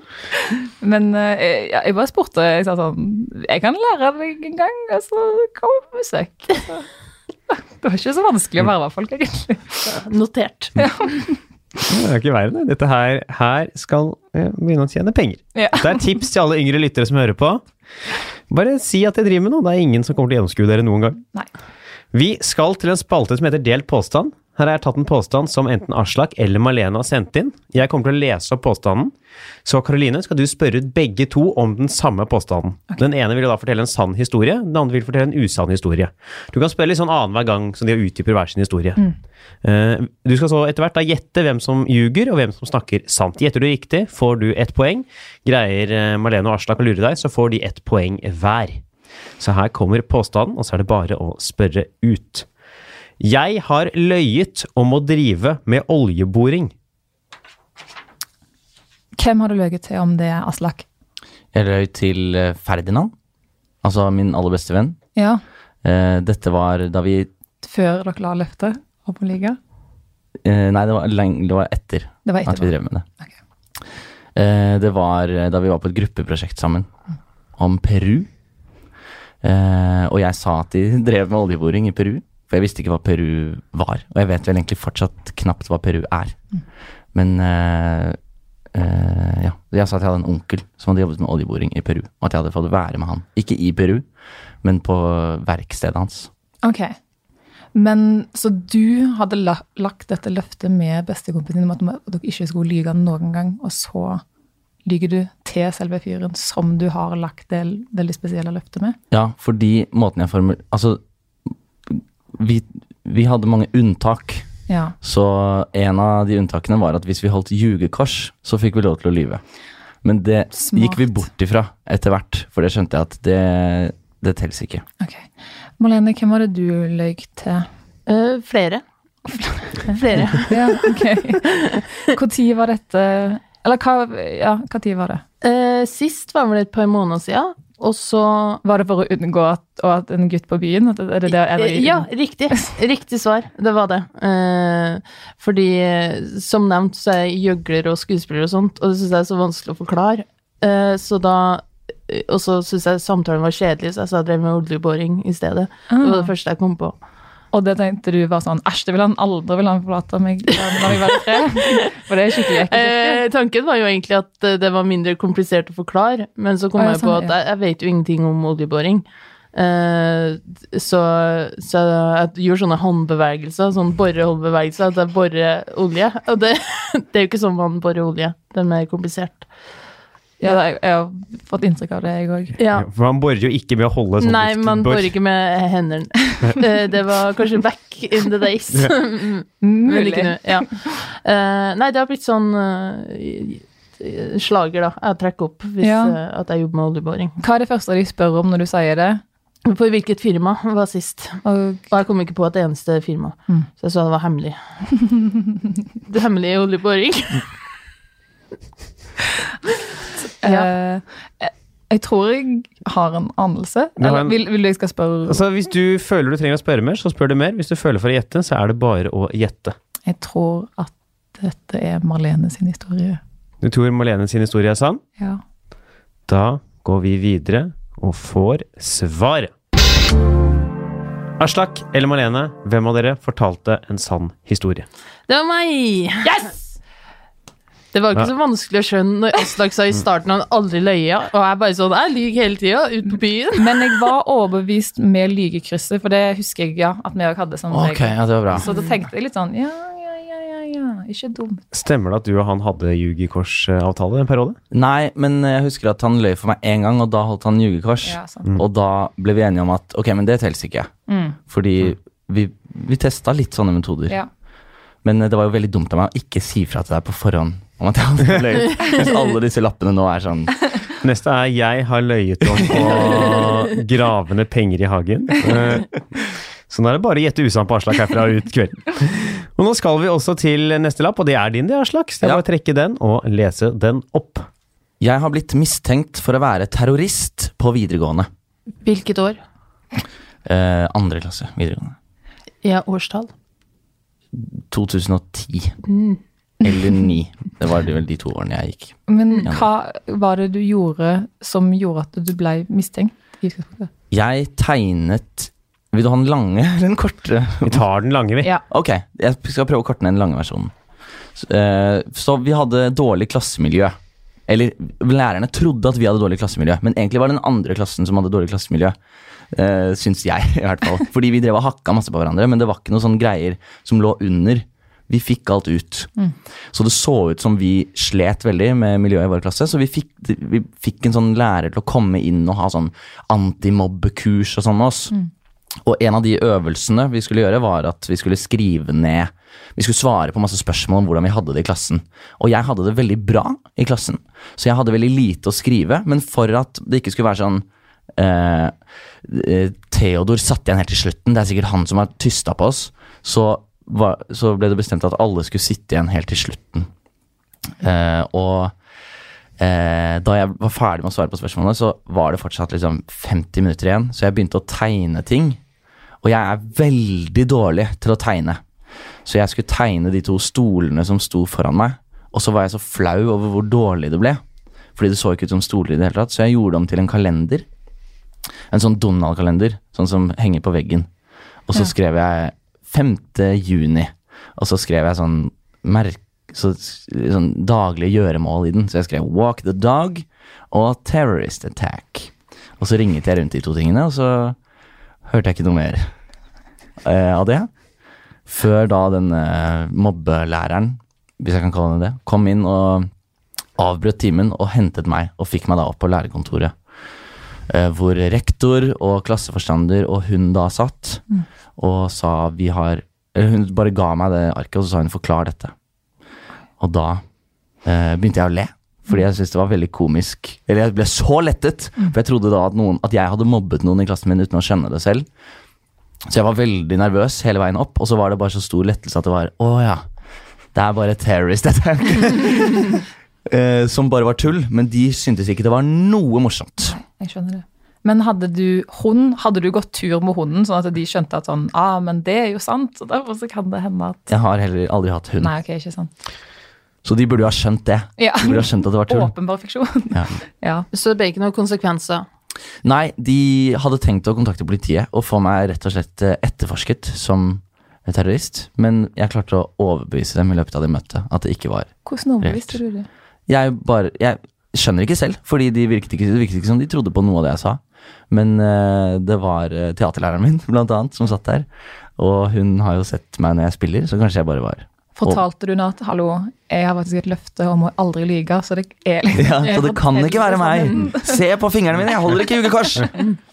Speaker 4: Men eh, ja, jeg bare spurte. Jeg sa sånn Jeg kan lære deg en gang, altså, og så kommer vi på besøk. <laughs> Så- Det var ikke så vanskelig å verve folk, egentlig.
Speaker 3: Notert.
Speaker 5: Hm.
Speaker 2: Det er ikke verre, det. Dette her, her skal jeg begynne å tjene penger.
Speaker 4: Ja.
Speaker 2: Det er et tips til alle yngre lyttere som hører på. Bare si at jeg driver med noe. Det er ingen som kommer til å gjennomskue dere noen gang.
Speaker 4: Nei.
Speaker 2: Vi skal til en spalte som heter Delt påstand. Her har jeg tatt en påstand som enten Aslak eller Malene har sendt inn. Jeg kommer til å lese opp påstanden. Så Karoline, skal du spørre ut begge to om den samme påstanden. Den ene vil jo da fortelle en sann historie, den andre vil fortelle en usann historie. Du kan spørre litt sånn annenhver gang som de utdyper hver sin historie. Eh, Du skal så etter hvert da gjette hvem som ljuger, og hvem som snakker sant. Gjetter du riktig, får du ett poeng. Greier eh, Malene og Aslak å lure deg, så får de ett poeng hver. Så her kommer påstanden, og så er det bare å spørre ut. Jeg har løyet om å drive med oljeboring.
Speaker 4: Hvem har du løyet til om det, Aslak?
Speaker 5: Jeg røy til eh, Ferdinand, altså min aller beste venn.
Speaker 4: Ja,
Speaker 5: Eh, Dette var da vi
Speaker 4: Før dere la løftet om å ligge?
Speaker 5: eh, Nei, det var, lenge, det var etter
Speaker 4: Det var
Speaker 5: at vi
Speaker 4: etterpå.
Speaker 5: drev med det. Eh, Det var eh, da vi var på et gruppeprosjekt sammen
Speaker 4: Mm.
Speaker 5: om Peru. Eh, Og jeg sa at de drev med oljeboring i Peru, for jeg visste ikke hva Peru var. Og jeg vet vel egentlig fortsatt knapt hva Peru er.
Speaker 4: Mm.
Speaker 5: Men eh, eh, ja. Jeg sa at jeg hadde en onkel som hadde jobbet med oljeboring i Peru, og at jeg hadde fått være med han. Ikke i Peru, men på verkstedet hans.
Speaker 4: Ok. Men så du hadde la lagt dette løftet med bestekompisen din om at dere ikke skulle lyge noen gang, og så lyger du til selve fyren som du har lagt det veldig spesielle løftet med?
Speaker 5: Ja, fordi måten jeg formul... Altså, vi, vi hadde mange unntak.
Speaker 4: Ja.
Speaker 5: Så en av de unntakene var at hvis vi holdt jugekors, så fikk vi lov til å lyve. Men det
Speaker 4: Smart.
Speaker 5: gikk vi bort ifra etter hvert, for det skjønte jeg at det, det telles ikke.
Speaker 4: Ok. Marlene, hvem var det du løy til?
Speaker 3: Eh, flere. Flere.
Speaker 4: Ja, ok.
Speaker 5: <laughs>
Speaker 4: Når var dette Eller hva Ja, hva tid var det?
Speaker 3: Eh, sist var vel et par måneder siden, og så
Speaker 4: Var det for å unngå at, og at en gutt på byen at- Er det det er det,
Speaker 3: Eh, Ja, riktig. Riktig svar. Det var det. Eh, fordi, eh, som nevnt, så er jeg gjøgler og skuespiller og sånt, og det syns jeg er så vanskelig å forklare. Eh, så da eh, Og så syns jeg samtalen var kjedelig, så jeg sa jeg drev med oljeboring i stedet. Det
Speaker 4: Ah.
Speaker 3: var det første jeg kom på.
Speaker 4: Og det tenkte du var sånn Æsj, det vil han aldri vil han forlate meg når vi var i fred. For det er skikkelig ekkelt.
Speaker 3: Eh, tanken var jo egentlig at eh, det var mindre komplisert å forklare, men så kom
Speaker 4: Å, ja,
Speaker 3: jeg på
Speaker 4: sånn,
Speaker 3: at
Speaker 4: ja.
Speaker 3: jeg, jeg vet jo ingenting om oljeboring. Eh, så, så jeg gjør sånne håndbevegelser, sånn borrehåndbevegelser, at jeg borer olje. Og det, <laughs> det er jo ikke sånn man borer olje, det er mer komplisert.
Speaker 4: Ja, jeg, jeg har fått inntrykk av det, jeg òg.
Speaker 3: Ja.
Speaker 2: For man borer jo ikke med å holde sånn
Speaker 3: Nei,
Speaker 2: luft-
Speaker 3: man
Speaker 2: bor-
Speaker 3: borer ikke med hendene.
Speaker 2: <laughs>
Speaker 3: Eh, det var kanskje back in the days. <laughs> Mm. Men
Speaker 4: Mulig.
Speaker 3: ikke nå. Ja. Eh, nei, det har blitt sånn eh, slager, da. Jeg trekker opp hvis
Speaker 4: Ja.
Speaker 3: eh, at jeg jobber med oljeboring.
Speaker 4: Hva er det første de spør om når du sier det?
Speaker 3: For hvilket firma var sist?
Speaker 4: Og
Speaker 3: Og jeg kom ikke på et eneste firma. <laughs> Så jeg sa det var hemmelig. det hemmelige oljeboring. Ja.
Speaker 4: Eh, jeg- jeg tror jeg har en anelse.
Speaker 2: Du har
Speaker 4: Eller,
Speaker 2: en-
Speaker 4: vil, vil du jeg skal spørre
Speaker 2: Altså, hvis du føler du trenger å spørre mer, så spør du mer. Hvis du føler for å gjette, så er det bare å gjette.
Speaker 4: Jeg tror at dette er Marlene sin historie.
Speaker 2: Du tror Malene sin historie er sann?
Speaker 4: Ja.
Speaker 2: Da går vi videre og får svar. Aslak eller Malene, hvem av dere fortalte en sann historie?
Speaker 3: Det var meg! Det var ikke
Speaker 2: Ja.
Speaker 3: så vanskelig å skjønne når Aslak sa i starten at han aldri løya, og jeg bare sånn Jeg lyver hele tida, ut på byen.
Speaker 4: Men jeg var overbevist med lygekrysset, for det husker jeg ja, at vi òg hadde. som
Speaker 5: Ok,
Speaker 4: regel.
Speaker 5: ja, det var bra.
Speaker 4: Så da tenkte jeg litt sånn ja, ja, ja, ja, ja. ikke dumt.
Speaker 2: Stemmer det at du og han hadde ljugikorsavtale en periode?
Speaker 5: Nei, men jeg husker at han løy for meg én gang, og da holdt han ljugekors.
Speaker 4: Ja, sant. Mm.
Speaker 5: Og da ble vi enige om at ok, men det telles ikke. Fordi vi, vi testa litt sånne metoder.
Speaker 4: Ja.
Speaker 5: Men eh, det var jo veldig dumt av meg å ikke si fra til deg på forhånd om at jeg hadde
Speaker 4: <laughs>
Speaker 5: løyet. Mens alle disse lappene nå er sånn
Speaker 2: Neste er 'Jeg har løyet om å grave ned penger i hagen'. Eh, Så nå er det bare å gjette usant på Aslak herfra ut kvelden. Og nå skal vi også til neste lapp, og det er din, det, Aslak. Så jeg
Speaker 5: Ja.
Speaker 2: bare trekke den og lese den opp.
Speaker 5: Jeg har blitt mistenkt for å være terrorist på videregående.
Speaker 3: Hvilket år?
Speaker 5: Eh, andre klasse videregående.
Speaker 3: Ja, årstall.
Speaker 5: 2010. Eller 9. Det var vel de to årene jeg gikk.
Speaker 4: Men hva var det du gjorde som gjorde at du ble mistenkt? i utgangspunktet?
Speaker 5: Jeg tegnet Vil du ha den lange eller den korte?
Speaker 2: Vi tar den lange, vi.
Speaker 4: Ja.
Speaker 5: Ok, jeg skal prøve å korte ned den lange versjonen. Så, eh, så vi hadde dårlig klassemiljø. Eller lærerne trodde at vi hadde dårlig klassemiljø, men egentlig var det den andre klassen som hadde dårlig klassemiljø. Uh, syns jeg, i hvert fall. Fordi vi drev og hakka masse på hverandre, men det var ikke noe sånn greier som lå under. Vi fikk alt ut. Så det så ut som vi slet veldig med miljøet i vår klasse. Så vi fikk, vi fikk en sånn lærer til å komme inn og ha sånn antimobbekurs og sånn med oss. Og en av de øvelsene vi skulle gjøre, var at vi skulle skrive ned Vi skulle svare på masse spørsmål om hvordan vi hadde det i klassen. Og jeg hadde det veldig bra i klassen, så jeg hadde veldig lite å skrive. Men for at det ikke skulle være sånn eh, eh, Theodor satt igjen helt til slutten, det er sikkert han som har tysta på oss. Så, var, så ble det bestemt at alle skulle sitte igjen helt til slutten. Eh, og eh, da jeg var ferdig med å svare på spørsmålene, så var det fortsatt liksom 50 minutter igjen, så jeg begynte å tegne ting. Og jeg er veldig dårlig til å tegne. Så jeg skulle tegne de to stolene som sto foran meg, og så var jeg så flau over hvor dårlig det ble. Fordi det så ikke ut som stoler i det hele tatt, så jeg gjorde om til en kalender. En sånn Donald-kalender, sånn som henger på veggen. Og så skrev jeg 5. juni, og så skrev jeg sånn merk... Så, sånn daglige gjøremål i den. Så jeg skrev 'Walk the Dog' og 'Terrorist Attack'. Og så ringte jeg rundt de to tingene, og så hørte jeg ikke noe mer eh, av det. Før da denne mobbelæreren, hvis jeg kan kalle henne det, kom inn og avbrøt timen og hentet meg, og fikk meg da opp på lærerkontoret. eh, Hvor rektor og klasseforstander og hun da satt og sa vi har eller Hun bare ga meg det arket, og så sa hun 'forklar dette'. Og da eh, begynte jeg å le, fordi jeg syntes det var veldig komisk. Eller jeg ble så lettet, for jeg trodde da at, noen, at jeg hadde mobbet noen i klassen min uten å skjønne det selv. Så jeg var veldig nervøs hele veien opp, og så var det bare så stor lettelse at det var Å ja, det er bare terrorist dette. <laughs> Eh, Som bare var tull, men de syntes ikke det var noe morsomt.
Speaker 4: Jeg skjønner det. Men hadde du hund, hadde du gått tur med hunden, sånn at de skjønte at sånn, ah, men det er jo sant, og derfor så kan det hende at
Speaker 5: Jeg har heller aldri hatt hund,
Speaker 4: Nei, ok, ikke sant.
Speaker 5: så de burde jo ha skjønt det.
Speaker 4: Ja.
Speaker 5: De burde ha skjønt at det var tull.
Speaker 4: Åpenbar fiksjon.
Speaker 5: Ja.
Speaker 4: <laughs> Ja.
Speaker 3: Så bacon har konsekvenser.
Speaker 5: Nei, de hadde tenkt å kontakte politiet og få meg rett og slett eh, etterforsket som terrorist, men jeg klarte å overbevise dem i løpet av det møtet at det ikke var
Speaker 4: Hvordan overbeviste du det?
Speaker 5: jeg bare Jeg skjønner ikke selv, fordi de virket ikke, det virket ikke som de trodde på noe av det jeg sa. Men eh, det var eh, teaterlæreren min, <laughs> blant annet, som satt der. Og hun har jo sett meg når jeg spiller, så kanskje jeg bare var
Speaker 4: Fortalte du henne at hallo, jeg har faktisk et løfte om å aldri lyge, så det er liksom
Speaker 5: ja, Så
Speaker 4: jeg
Speaker 5: det kan
Speaker 4: forteller
Speaker 5: ikke være
Speaker 4: sannheten.
Speaker 5: meg! Se på fingrene mine, jeg holder ikke jugekors!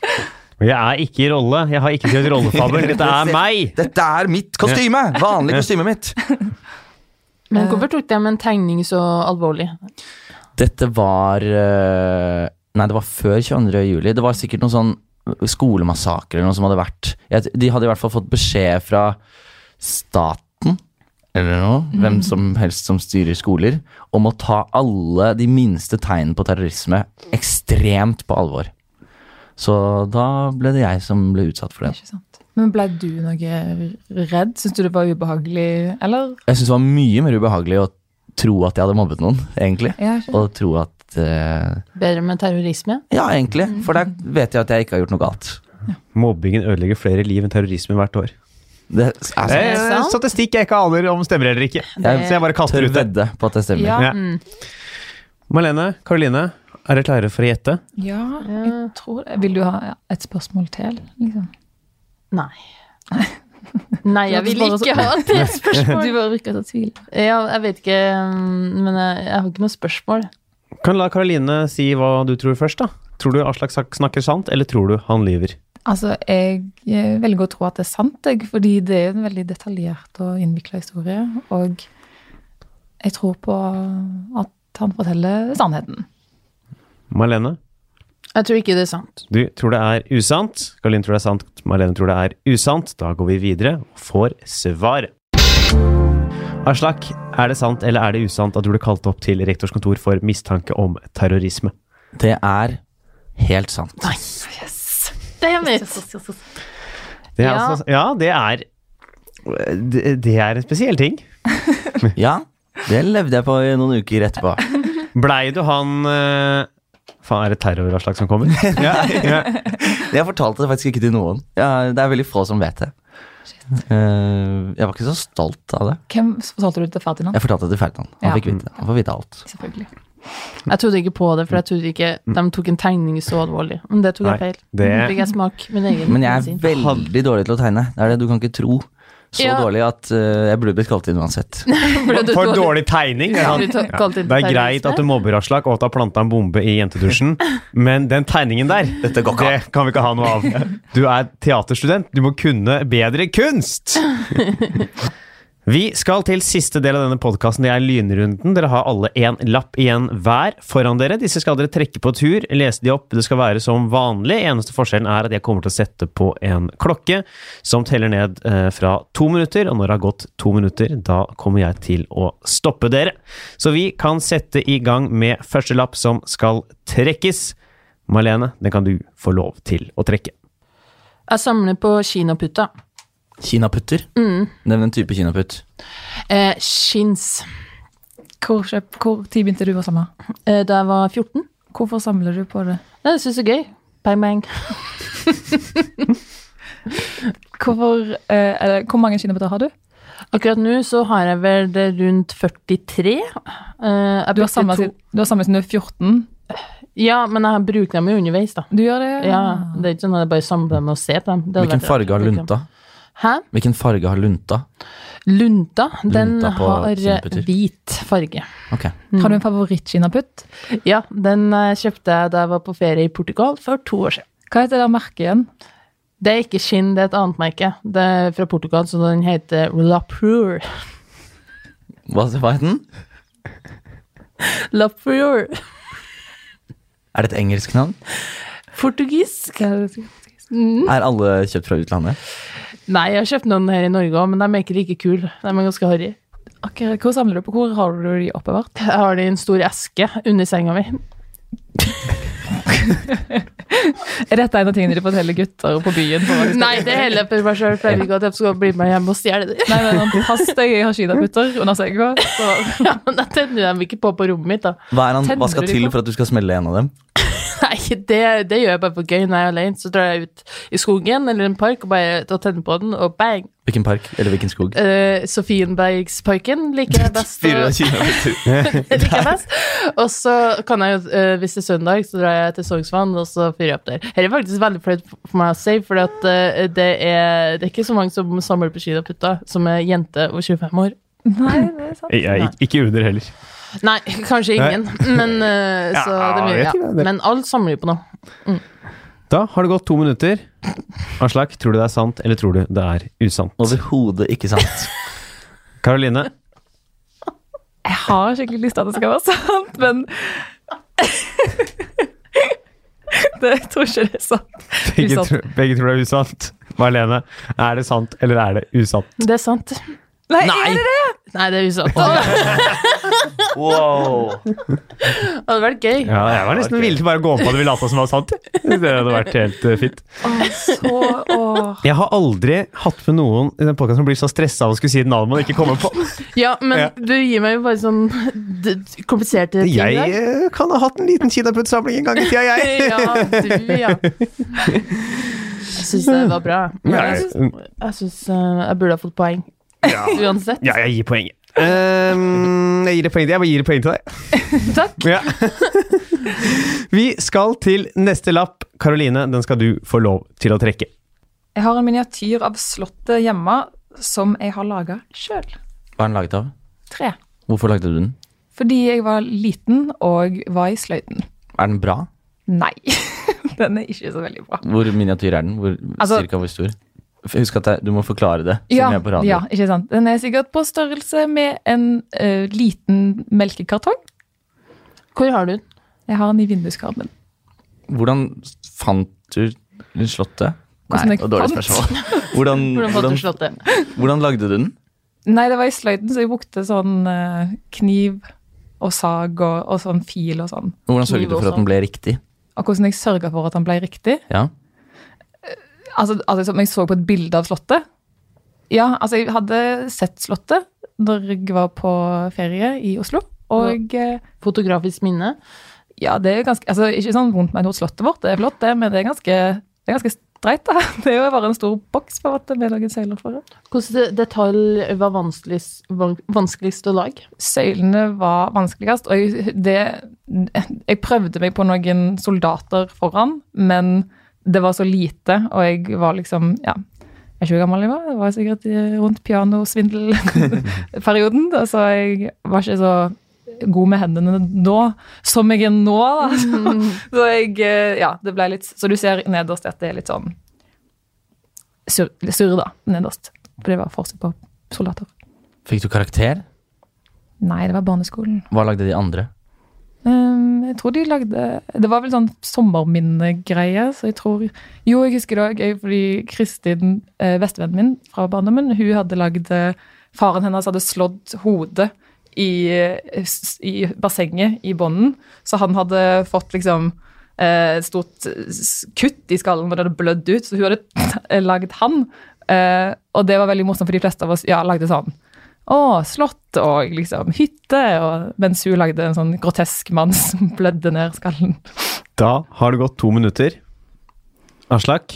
Speaker 5: <laughs>
Speaker 2: Og jeg er ikke i rolle. Jeg har ikke kjørt rollefabel. Dette er meg!
Speaker 5: Dette er mitt kostyme! Vanlig kostyme mitt.
Speaker 3: Men hvorfor tok de en tegning så alvorlig?
Speaker 5: Dette var eh, Nei, det var før 22. juli. Det var sikkert noen sånn skolemassaker eller noe som hadde vært Jeg- De hadde i hvert fall fått beskjed fra staten eller noe, hvem som helst som styrer skoler, om å ta alle de minste tegnene på terrorisme ekstremt på alvor. Så da ble det jeg som ble utsatt for det.
Speaker 4: Ikke sant. Men ble du noe redd? Syns du det var ubehagelig, eller?
Speaker 5: Jeg syns det var mye mer ubehagelig å tro at jeg hadde mobbet noen, egentlig.
Speaker 4: Ja, ikke sant.
Speaker 5: Og tro at eh,
Speaker 3: Bedre med terrorisme.
Speaker 5: Ja, egentlig. For der vet jeg at jeg ikke har gjort noe galt.
Speaker 2: Mobbingen ødelegger flere liv enn terrorisme hvert år.
Speaker 5: Altså, Det er sant.
Speaker 2: Eh,
Speaker 3: sant?
Speaker 2: statistikk jeg ikke aner om stemmer eller ikke.
Speaker 5: Det-
Speaker 2: Så jeg bare kaster
Speaker 5: Tør Mm.
Speaker 2: ut det.
Speaker 5: vedde på at det stemmer.
Speaker 4: Ja.
Speaker 2: Ja. Malene, Karoline, er dere klare for å gjette?
Speaker 4: Ja, jeg tror det. Vil du ha et spørsmål til? Liksom?
Speaker 3: <laughs> Nei. Nei, jeg vil ikke ha det <laughs> spørsmålet.
Speaker 4: Du bare rykker til tvil.
Speaker 3: Ja, jeg vet ikke, mm, men jeg, jeg har ikke noe spørsmål.
Speaker 2: Kan la Karoline si hva du tror først, da. Tror du Aslak sak- snakker sant, eller tror du han lyver?
Speaker 4: Altså, jeg eh, velger å tro at det er sant, jeg, fordi det er en veldig detaljert og innvikla historie. Og jeg tror på at han forteller sannheten.
Speaker 2: Malene,
Speaker 3: Jeg tror ikke det er sant.
Speaker 2: du tror det er usant. Karoline tror det er sant, Malene tror det er usant. Da går vi videre og får svaret. Aslak, er det sant eller er det usant at du ble kalt opp til rektors kontor for mistanke om terrorisme?
Speaker 5: Det er helt sant.
Speaker 3: Damn it!
Speaker 2: Det er ja.
Speaker 3: Ja.
Speaker 2: Altså, ja, det er det, det er en spesiell ting.
Speaker 5: Ja, det levde jeg på i noen uker etterpå.
Speaker 2: Blei du han eh, Faen, er det terror Aslak som kommer? ja, ja.
Speaker 5: Jeg fortalte det faktisk ikke til noen. Ja, det er veldig få som vet det. Eh, jeg var ikke så stolt av det.
Speaker 4: Hvem fortalte du det til Ferdinand?
Speaker 5: Jeg fortalte det til Ferdinand. Han
Speaker 4: Ja.
Speaker 5: fikk vite det. Han får vite alt.
Speaker 4: Selvfølgelig.
Speaker 3: <laughs> Jeg trodde ikke på det, for jeg trodde ikke de tok en tegning så alvorlig. Men det tok
Speaker 2: Nei,
Speaker 3: jeg feil.
Speaker 2: det-
Speaker 3: Nå fikk jeg smak min egen
Speaker 5: Men jeg er
Speaker 3: medisin. <laughs>
Speaker 5: veldig dårlig til å tegne. Det er det du kan ikke tro. Så
Speaker 3: Ja.
Speaker 5: dårlig at eh, jeg burde blitt kalt inn uansett.
Speaker 3: Ble du
Speaker 2: For
Speaker 3: dårlig?
Speaker 2: dårlig tegning. er
Speaker 3: Ja,
Speaker 2: han-
Speaker 3: du tok- kalte det
Speaker 2: Det er greit
Speaker 3: terrorisme.
Speaker 2: at du mobber Aslak og at du har planta en bombe i jentedusjen, men den tegningen der, det kan vi ikke ha noe av. Du er teaterstudent, du må kunne bedre kunst! Vi skal til siste del av denne podkasten. Det er lynrunden. Dere har alle én lapp igjen hver foran dere. Disse skal dere trekke på tur. Lese de opp. Det skal være som vanlig. Eneste forskjellen er at jeg kommer til å sette på en klokke som teller ned eh, fra to minutter. Og når det har gått to minutter, da kommer jeg til å stoppe dere. Så vi kan sette i gang med første lapp som skal trekkes. Malene, den kan du få lov til å trekke.
Speaker 3: Jeg samler på kinaputta.
Speaker 5: Kinaputter.
Speaker 3: Mm.
Speaker 5: Nevn en type kinaputt.
Speaker 3: Eh, skins.
Speaker 4: Hvor, kjøp- hvor tid begynte du å samle?
Speaker 3: Eh, da jeg var 14.
Speaker 4: Hvorfor samler du på det?
Speaker 3: Nei, det syns jeg er gøy. Bang, bang.
Speaker 4: Hvorfor, eh, eller, hvor mange kinnabutter har du?
Speaker 3: Akkurat nå så har jeg vel det rundt 43. Eh, jeg
Speaker 4: Du har
Speaker 3: brukte
Speaker 4: samlet
Speaker 3: to-
Speaker 4: siden du, har samlet siden du er 14.
Speaker 3: Ja, men jeg bruker dem jo underveis, da.
Speaker 4: Du gjør det?
Speaker 3: Ja, Det er ikke sånn at jeg bare samler dem og ser på dem. Det hadde vært
Speaker 5: Hvilken
Speaker 3: rart
Speaker 5: farge
Speaker 3: å
Speaker 5: har
Speaker 3: bruke dem.
Speaker 5: lunta?
Speaker 3: Hæ?
Speaker 5: Hvilken farge har lunta?
Speaker 3: Lunta, den
Speaker 5: Lunta på
Speaker 3: har
Speaker 5: kinaputter.
Speaker 3: hvit farge.
Speaker 5: Ok.
Speaker 4: Har du en favorittkinnaputt?
Speaker 3: Ja, den eh, kjøpte jeg da jeg var på ferie i Portugal for to år siden.
Speaker 4: Hva heter det der merket igjen?
Speaker 3: Det er ikke skinn, det er et annet merke. Det er fra Portugal, så den heter Lapur.
Speaker 5: Hva, hva het den?
Speaker 3: Lapur.
Speaker 5: Er det et engelsk navn?
Speaker 3: Portugisisk.
Speaker 5: Er alle kjøpt fra utlandet?
Speaker 3: Nei, jeg har kjøpt noen her i Norge òg, men de er ikke like kule. De er ganske harry.
Speaker 4: Akkurat, hvor samler du på? Hvor har du de oppbevart?
Speaker 3: Jeg har det i en stor eske under senga mi.
Speaker 4: Er dette en av tingene de forteller gutter på byen? På
Speaker 3: Nei, det er heller for meg sjøl, for jeg vil ikke at de skal bli med hjem og stjele det.
Speaker 4: Nei, nei, nei, pass deg, jeg har kinaputter under senga. Så.
Speaker 3: <laughs> Ja, men jeg tenner dem ikke på på rommet mitt, da.
Speaker 5: Hva, er han, hva
Speaker 4: Tenner
Speaker 5: skal
Speaker 4: du
Speaker 5: til
Speaker 4: på?
Speaker 5: for at du skal smelle en av dem?
Speaker 3: Nei, det, det gjør jeg bare for gøy når jeg er alene. Så drar jeg ut i skogen eller en park og bare og tenner på den, og bang!
Speaker 5: Hvilken park? Eller hvilken skog?
Speaker 3: Eh, Sofienbergsparken liker jeg best.
Speaker 5: Fyrer
Speaker 3: å-
Speaker 5: av kinaputter.
Speaker 3: Det <laughs> liker jeg best. Og så kan jeg jo, eh, hvis det er søndag, så drar jeg til Sognsvann, og så fyrer jeg opp der. Her er faktisk veldig flaut for meg å si, for at, eh, det, er, det er ikke så mange som samler på skien og putter, som er jente over 25 år.
Speaker 4: Nei, det er sant.
Speaker 2: Jeg, ikke- ikke under heller.
Speaker 3: Nei, kanskje ingen, men eh, så
Speaker 2: Ja,
Speaker 3: det blir,
Speaker 2: jeg vet ikke det.
Speaker 3: ja. Men alle samler jo på noe.
Speaker 2: Da har det gått to minutter. Aslak, tror du det er sant, eller tror du det er usant?
Speaker 5: <laughs> Overhodet ikke sant.
Speaker 2: Karoline,
Speaker 4: Jeg har skikkelig lyst til at det skal være sant, men <laughs> det, Jeg tror ikke det er sant.
Speaker 2: begge,
Speaker 4: Usant.
Speaker 2: tro, begge tror det er usant. Marlene, er det sant, eller er det usant?
Speaker 3: Det er sant.
Speaker 4: Nei,
Speaker 5: Nei!
Speaker 4: er det det?
Speaker 3: Nei, det er usant. Det
Speaker 5: Wow.
Speaker 3: hadde vært gøy.
Speaker 2: Ja, jeg var nesten villig til bare å gå med på at vi lata som var sant. Det hadde vært helt eh, fint.
Speaker 4: Åh, så, åh.
Speaker 2: Jeg har aldri hatt med noen i den podkasten som blir så stressa av å skulle si et navn man ikke kommer på.
Speaker 3: Ja, men
Speaker 2: Ja.
Speaker 3: du gir meg jo bare sånn d- d- kompliserte ting
Speaker 2: Jeg
Speaker 3: der.
Speaker 2: eh, kan ha hatt en liten kinaputtsamling en gang i tida, jeg.
Speaker 3: <laughs> Ja, du, ja. Jeg syns det var bra. Men
Speaker 2: Ja,
Speaker 3: Jeg
Speaker 2: jeg-
Speaker 3: syns, jeg, syns, eh, jeg burde ha fått poeng. <laughs> Uansett.
Speaker 2: Ja, jeg gir poenget. Ehm, jeg gir det poeng til Jeg bare gir det poeng til deg.
Speaker 4: Takk.
Speaker 2: Ja. Vi skal til neste lapp. Karoline, den skal du få lov til å trekke.
Speaker 4: Jeg har en miniatyr av Slottet hjemme som jeg har laga sjøl.
Speaker 5: Hva er den laget av?
Speaker 4: Tre.
Speaker 5: Hvorfor lagde du den?
Speaker 4: Fordi jeg var liten og var i sløyden.
Speaker 5: Er den bra?
Speaker 4: Nei. <laughs> Den er ikke så veldig bra.
Speaker 5: Hvor miniatyr er den? Hvor,
Speaker 4: Altså-
Speaker 5: cirka hvor stor? F- Husk at det- du må forklare det. siden
Speaker 4: Ja,
Speaker 5: jeg er på radio.
Speaker 4: ja, ikke sant. Den er sikkert på størrelse med en eh, liten melkekartong.
Speaker 3: Hvor har du den?
Speaker 4: Jeg har den i vinduskarmen.
Speaker 5: Hvordan fant du Slottet?
Speaker 4: Hvordan jeg
Speaker 5: og dårlig
Speaker 4: fant?
Speaker 5: spørsmål. Hvordan,
Speaker 3: Hvordan fant
Speaker 5: hvordan,
Speaker 3: du slottet?
Speaker 5: hvordan lagde du den?
Speaker 4: Nei, det var i sløyden, så jeg brukte sånn eh, kniv og sag og, og sånn fil og sånn.
Speaker 5: Hvordan sørget du for at den ble riktig?
Speaker 4: Og hvordan jeg sørga for at den ble riktig.
Speaker 5: Ja.
Speaker 4: Altså, altså som jeg så på et bilde av slottet. Ja, altså jeg hadde sett slottet når jeg var på ferie i Oslo. Og eh,
Speaker 3: Fotografisk minne?
Speaker 4: ja, det er ganske Altså ikke sånn vondt ment mot slottet vårt, det er flott det, men det er ganske, det er ganske streit, da. <laughs> Det er jo bare en stor boks på en måte med noen søyler foran.
Speaker 3: Hvilken detalj var vanskeligst, van- vanskeligst å lage?
Speaker 4: Søylene var vanskeligst, og jeg, det, jeg prøvde meg på noen soldater foran, men det var så lite, og jeg var liksom, ja, jeg vet ikke hvor gammel jeg var, det var sikkert eh, rundt pianosvindelperioden, <laughs> så jeg var ikke så god med hendene nå, som jeg er nå, da. <laughs> Så, så jeg, eh, ja, det ble litt, så du ser nederst at det er litt sånn sur, sur da, nederst, for det var forsøk på soldater.
Speaker 5: Fikk du karakter?
Speaker 4: Nei, det var barneskolen.
Speaker 5: Hva lagde de andre?
Speaker 4: Um, jeg tror de lagde Det var vel sånn sommerminnegreie, så jeg tror Jo, jeg husker det òg, fordi Kristin, eh, bestevennen min fra barndommen, hun hadde lagd eh, Faren hennes hadde slått hodet i, eh, s- i bassenget i bånden, så han hadde fått liksom eh, et stort s- kutt i skallen, og det hadde blødd ut, så hun hadde <laughs> lagd han. Eh, og det var veldig morsomt, for de fleste av oss ja, lagde sånn. Å, slott og liksom hytte, og, mens hun lagde en sånn grotesk mann som blødde ned skallen.
Speaker 2: Da har det gått to minutter. Aslak,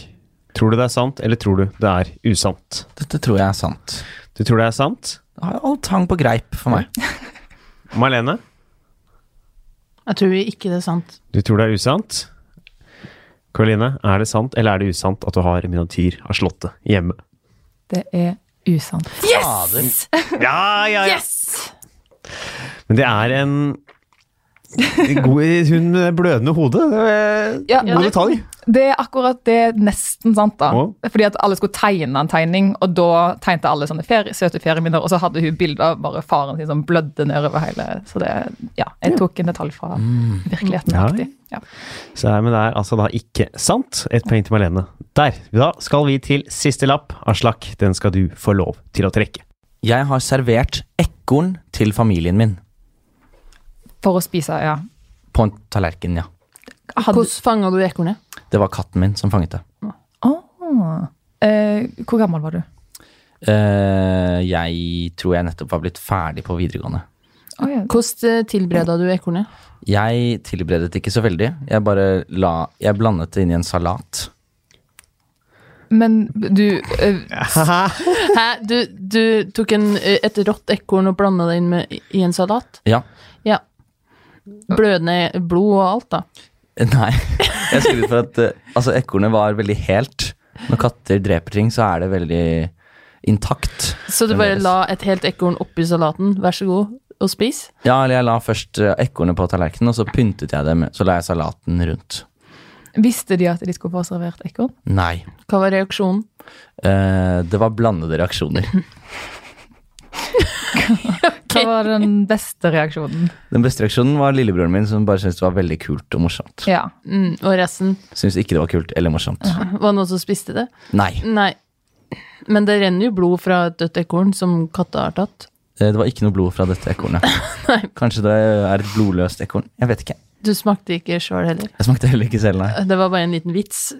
Speaker 2: tror du det er sant, eller tror du det er usant?
Speaker 5: Dette tror jeg er sant.
Speaker 2: Du tror det er sant?
Speaker 5: Det har all tang på greip for meg.
Speaker 2: Marlene,
Speaker 3: Jeg tror ikke det er sant.
Speaker 2: du tror det er usant? Karoline, er det sant eller er det usant at du har miniatyr av Slottet hjemme?
Speaker 4: Det er usant.
Speaker 5: Yes!
Speaker 2: Ja, ja, ja.
Speaker 3: Yes!
Speaker 2: Men det er en god Hun med det blødende hodet. Det er
Speaker 4: Ja,
Speaker 2: en god detalj.
Speaker 4: Det er akkurat det er nesten sant, da.
Speaker 2: Å.
Speaker 4: Fordi at alle skulle tegne en tegning, og da tegnte alle sånne ferie, søte ferieminner, og så hadde hun bilde av bare faren sin som blødde nedover hele Så det, ja, jeg tok en detalj fra
Speaker 2: Mm.
Speaker 4: virkeligheten.
Speaker 2: Ja.
Speaker 4: aktig. Ja.
Speaker 2: Så, er- men det er altså da ikke sant. Ett poeng til Marlene. Der. Da skal vi til siste lapp. Aslak, den skal du få lov til å trekke.
Speaker 5: Jeg har servert ekorn til familien min.
Speaker 4: For å spise, ja.
Speaker 5: På en tallerken, ja.
Speaker 4: Hadde,
Speaker 3: Hvordan fanga du ekornet?
Speaker 5: Det var katten min som fanget det.
Speaker 4: eh, hvor gammel var du?
Speaker 5: Eh, jeg tror jeg nettopp var blitt ferdig på videregående.
Speaker 4: Å, ja.
Speaker 3: Hvordan tilbereda du ekornet?
Speaker 5: Jeg tilberedet ikke så veldig. Jeg bare la Jeg blandet det inn i en salat.
Speaker 4: Men du eh,
Speaker 3: Hæ? Du, du tok en, et rått ekorn og blanda det inn med, i en salat?
Speaker 5: Ja.
Speaker 3: Ja. Blødende blod og alt, da.
Speaker 5: Eh, Nei. <laughs> Jeg skulle ut for at eh, Altså, ekornet var veldig helt. Når katter dreper ting, så er det veldig intakt.
Speaker 3: Så du bare la et helt ekorn oppi salaten, vær så god, og spis?
Speaker 5: Ja, eller jeg la først eh, ekornet på tallerkenen, og så pyntet jeg det med Så la jeg salaten rundt.
Speaker 4: visste de at de skulle få servert ekorn?
Speaker 5: Nei.
Speaker 3: Hva var reaksjonen?
Speaker 5: Eh, det var blandede reaksjoner.
Speaker 4: Hva var den beste reaksjonen?
Speaker 5: Den beste reaksjonen var lillebroren min, som bare syntes det var veldig kult og morsomt.
Speaker 4: Ja.
Speaker 3: Mm, og resten?
Speaker 5: Syntes ikke det var kult eller morsomt.
Speaker 3: Var det noen som spiste det?
Speaker 5: Nei.
Speaker 3: Nei. Men det renner jo blod fra et dødt ekorn som katta har tatt.
Speaker 5: Eh, Det var ikke noe blod fra dette ekornet. Kanskje det er et blodløst ekorn. Jeg vet ikke.
Speaker 3: Du smakte ikke sjøl heller.
Speaker 5: Jeg smakte heller ikke selv, nei.
Speaker 3: Det var bare en liten vits.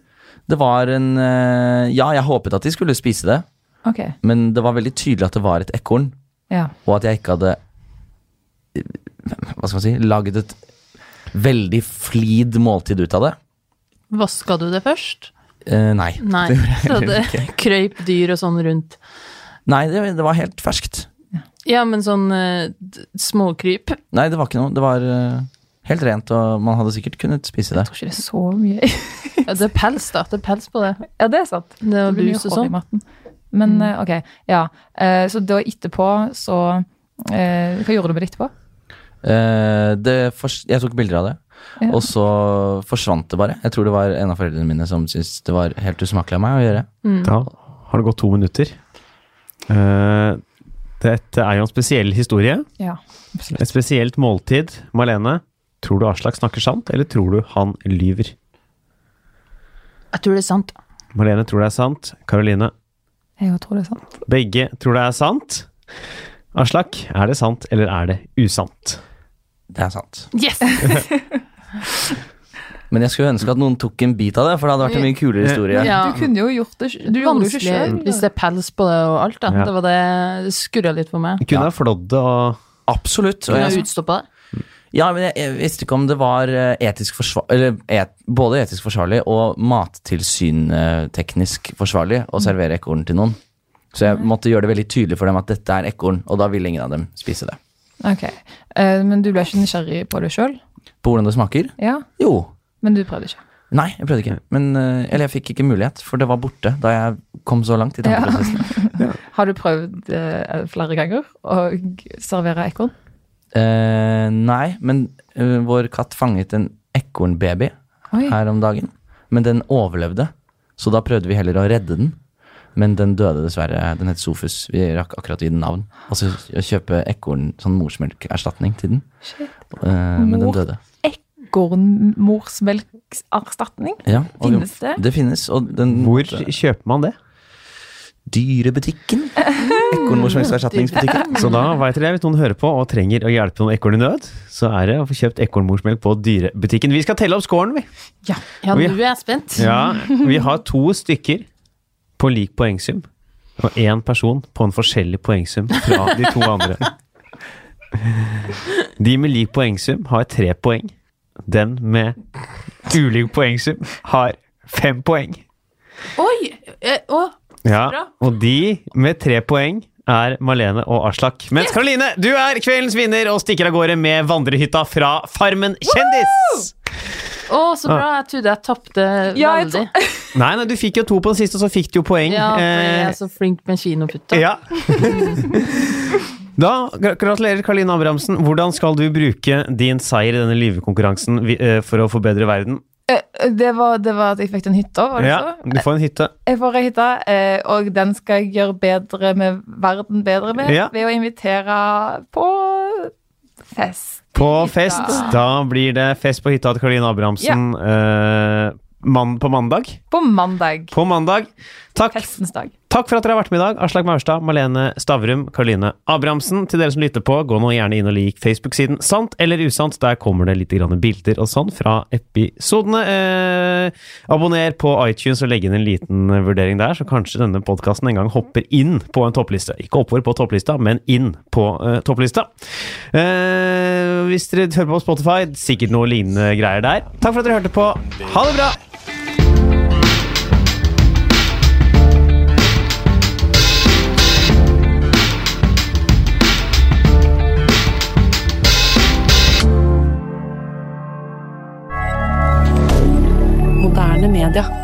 Speaker 5: Det var en eh, Ja, jeg håpet at de skulle spise det,
Speaker 4: Ok,
Speaker 5: men det var veldig tydelig at det var et ekorn,
Speaker 4: ja.
Speaker 5: og at jeg ikke hadde eh, Hva skal man si Lagd et veldig flid måltid ut av det.
Speaker 3: Vaska du det først?
Speaker 5: Eh, nei.
Speaker 3: Nei. Så det krøyp dyr og sånn rundt.
Speaker 5: Nei, det, det var helt ferskt.
Speaker 3: Ja, men sånn eh, d- småkryp.
Speaker 5: Nei, det var ikke noe. Det var eh, helt rent, og man hadde sikkert kunnet spise det.
Speaker 4: Jeg tror ikke det er så mye
Speaker 3: Ja, det er pels, da. Det er pels på det.
Speaker 4: <laughs> Ja, det er sant.
Speaker 3: Det er
Speaker 4: Det blir mye
Speaker 3: lus og
Speaker 4: hår i
Speaker 3: sånn.
Speaker 4: maten. Men eh, ok, ja. Eh, Så da etterpå, så eh, Hva gjorde du med det etterpå?
Speaker 5: Eh, det fors jeg tok bilder av det,
Speaker 4: Ja.
Speaker 5: og så forsvant det bare. Jeg tror det var en av foreldrene mine som syntes det var helt usmakelig av meg å gjøre.
Speaker 4: Mm.
Speaker 2: Da har det gått to minutter. Eh, dette er jo en spesiell historie.
Speaker 4: Ja, absolutt.
Speaker 2: Et spesielt måltid. Malene, tror du Aslak snakker sant, eller tror du han lyver?
Speaker 3: Jeg tror det er sant.
Speaker 2: Malene tror det er sant. Karoline,
Speaker 4: Jeg tror det er sant.
Speaker 2: begge tror det er sant. Aslak, er det sant, eller er det usant?
Speaker 5: Det er sant.
Speaker 3: Yes!
Speaker 5: Men jeg skulle ønske at noen tok en bit av det, for det hadde vært en mye kulere historie.
Speaker 3: Ja.
Speaker 4: Du kunne jo gjort det Du gjorde det jo ikke
Speaker 3: Vanskelig
Speaker 4: sjøl.
Speaker 3: hvis det er pels på det og alt, da.
Speaker 2: Mm. Ja.
Speaker 3: Det var det det skurra litt for meg.
Speaker 2: Kunne ha flådd det og
Speaker 5: Absolutt. Og
Speaker 3: Kunne
Speaker 5: jeg,
Speaker 3: jeg utstoppa det?
Speaker 5: ja, men jeg, jeg visste ikke om det var eh, etisk forsvar... Eller et, både etisk forsvarlig og mattilsynteknisk forsvarlig å servere ekorn til noen. Så jeg måtte gjøre det veldig tydelig for dem at dette er ekorn, og da vil ingen av dem spise det.
Speaker 4: Ok, Eh, Men du ble ikke nysgjerrig på det sjøl?
Speaker 5: På hvordan det smaker?
Speaker 4: Ja,
Speaker 5: Jo,
Speaker 4: men du prøvde ikke?
Speaker 5: Nei, jeg prøvde ikke. Men, eh, eller jeg fikk ikke mulighet, for det var borte da jeg kom så langt. i
Speaker 4: Ja.
Speaker 5: tankeprosessen.
Speaker 4: <laughs> Har du prøvd eh, flere ganger å servere ekorn?
Speaker 5: Eh, nei, men eh, vår katt fanget en ekornbaby
Speaker 4: Oi.
Speaker 5: her om dagen. Men den overlevde, så da prøvde vi heller å redde den. Men den døde dessverre. Den het Sofus. Vi rakk akkurat å gi den navn. Altså å kjøpe ekorn, sånn morsmelkerstatning til den.
Speaker 4: Shit.
Speaker 5: Eh, men den
Speaker 4: Mor-
Speaker 5: døde.
Speaker 4: Ekornmorsmelkerstatning?
Speaker 5: Ja, og vi-
Speaker 4: Finnes det?
Speaker 5: Det finnes. Og den
Speaker 2: Hvor kjøper man det?
Speaker 4: <laughs>
Speaker 5: Dyrebutikken. Ekornmorsmelkerstatningsbutikken.
Speaker 2: Så da vet dere, hvis noen hører på og trenger å hjelpe noen ekorn i nød, så er det å få kjøpt ekornmorsmelk på dyrebutikken. Vi skal telle opp scoren, vi.
Speaker 3: Ja,
Speaker 2: Og
Speaker 3: nå
Speaker 2: vi-
Speaker 3: er jeg spent.
Speaker 2: <laughs> Ja, vi har to stykker på lik poengsum, og én person på en forskjellig poengsum fra de to andre. De med lik poengsum har tre poeng. Den med ulik poengsum har fem poeng.
Speaker 3: Oi! Eh, å,
Speaker 2: Ja, og de med tre poeng er Malene og Aslak. Mens Karoline, du er kveldens vinner og stikker av gårde med vandrehytta fra Farmen kjendis!
Speaker 3: å, så bra. Jeg trodde jeg tapte
Speaker 4: Ja, jeg
Speaker 3: veldig.
Speaker 2: Nei, nei, du fikk jo to på den siste, og så fikk du jo poeng.
Speaker 3: Ja, for jeg
Speaker 2: <laughs> Eh,
Speaker 3: er så flink med kinoputta.
Speaker 2: Ja. Da gra- gratulerer, Karoline Abrahamsen. Hvordan skal du bruke din seier i denne lyvekonkurransen vi- eh, for å forbedre verden?
Speaker 4: Eh, Det var, det var at jeg fikk den hytta, var det
Speaker 2: Ja,
Speaker 4: så?
Speaker 2: du får en hytte.
Speaker 4: Jeg får ei hytte, eh, og den skal jeg gjøre bedre med verden bedre med
Speaker 2: Ja.
Speaker 4: ved å invitere på fest.
Speaker 2: På fest. Da blir det fest på hytta til Karoline Abrahamsen eh, mann- på mandag.
Speaker 4: På mandag.
Speaker 2: På mandag. Takk,
Speaker 4: Festens dag.
Speaker 2: takk for at dere har vært med i dag. Aslak Maurstad, Malene Stavrum, Karoline Abrahamsen. Til dere som lytter på, gå nå gjerne inn og lik Facebook-siden Sant eller usant. Der kommer det litt grann bilder og sånn fra episodene. Eh, abonner på iTunes og legg inn en liten vurdering der, så kanskje denne podkasten en gang hopper inn på en toppliste. Ikke oppover på topplista, men inn på eh, topplista. Eh, hvis dere hører på Spotify, sikkert noe lignende greier der. Takk for at dere hørte på. Ha det bra!
Speaker 6: Moderne media.